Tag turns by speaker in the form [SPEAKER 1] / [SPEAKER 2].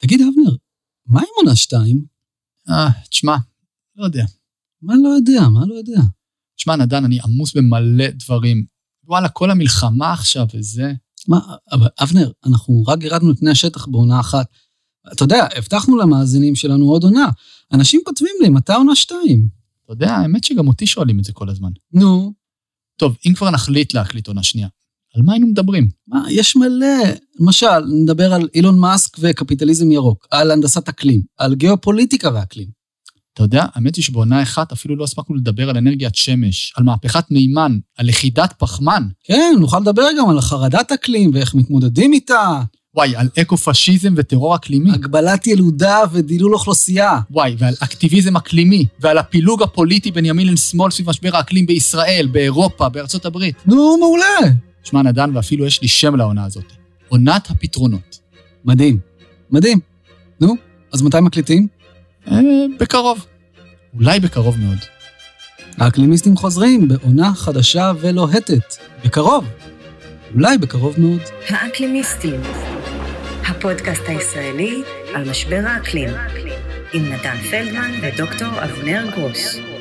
[SPEAKER 1] תגיד, אבנר, מה עם עונה שתיים?
[SPEAKER 2] אה, תשמע, לא יודע.
[SPEAKER 1] מה לא יודע? מה לא יודע?
[SPEAKER 2] תשמע, נדן, אני עמוס במלא דברים. וואלה, כל המלחמה עכשיו וזה.
[SPEAKER 1] מה, אבל אבנר, אנחנו רק ירדנו לפני השטח בעונה אחת. אתה יודע, הבטחנו למאזינים שלנו עוד עונה. אנשים כותבים לי, מתי עונה שתיים?
[SPEAKER 2] אתה יודע, האמת שגם אותי שואלים את זה כל הזמן.
[SPEAKER 1] נו,
[SPEAKER 2] טוב, אם כבר נחליט להקליט עונה שנייה, על מה היינו מדברים?
[SPEAKER 1] מה, יש מלא. למשל, נדבר על אילון מאסק וקפיטליזם ירוק, על הנדסת אקלים, על גיאופוליטיקה ואקלים.
[SPEAKER 2] אתה יודע, האמת היא שבעונה אחת אפילו לא הספקנו לדבר על אנרגיית שמש, על מהפכת מימן, על לכידת פחמן.
[SPEAKER 1] כן, נוכל לדבר גם על החרדת אקלים ואיך מתמודדים איתה,
[SPEAKER 2] וואי, על אקו-פשיזם וטרור אקלימי.
[SPEAKER 1] הגבלת ילודה ודילול אוכלוסייה.
[SPEAKER 2] וואי, ועל אקטיביזם אקלימי, ועל הפילוג הפוליטי בין ימין לשמאל סביב משבר האקלים בישראל, באירופה, בארצות הברית.
[SPEAKER 1] נו, מעולה.
[SPEAKER 2] שמע, נדן, ואפילו יש לי שם לעונה הזאת. עונת הפתרונות.
[SPEAKER 1] מדהים, מדהים. נו, אז מתי מקליטים?
[SPEAKER 2] אה, בקרוב. אולי בקרוב מאוד.
[SPEAKER 1] האקלימיסטים חוזרים בעונה חדשה ולוהטת. בקרוב. אולי בקרוב מאוד.
[SPEAKER 3] האקלימיסטים, הפודקאסט הישראלי על משבר האקלים, עם נתן פלדמן ודוקטור אבנר גרוס.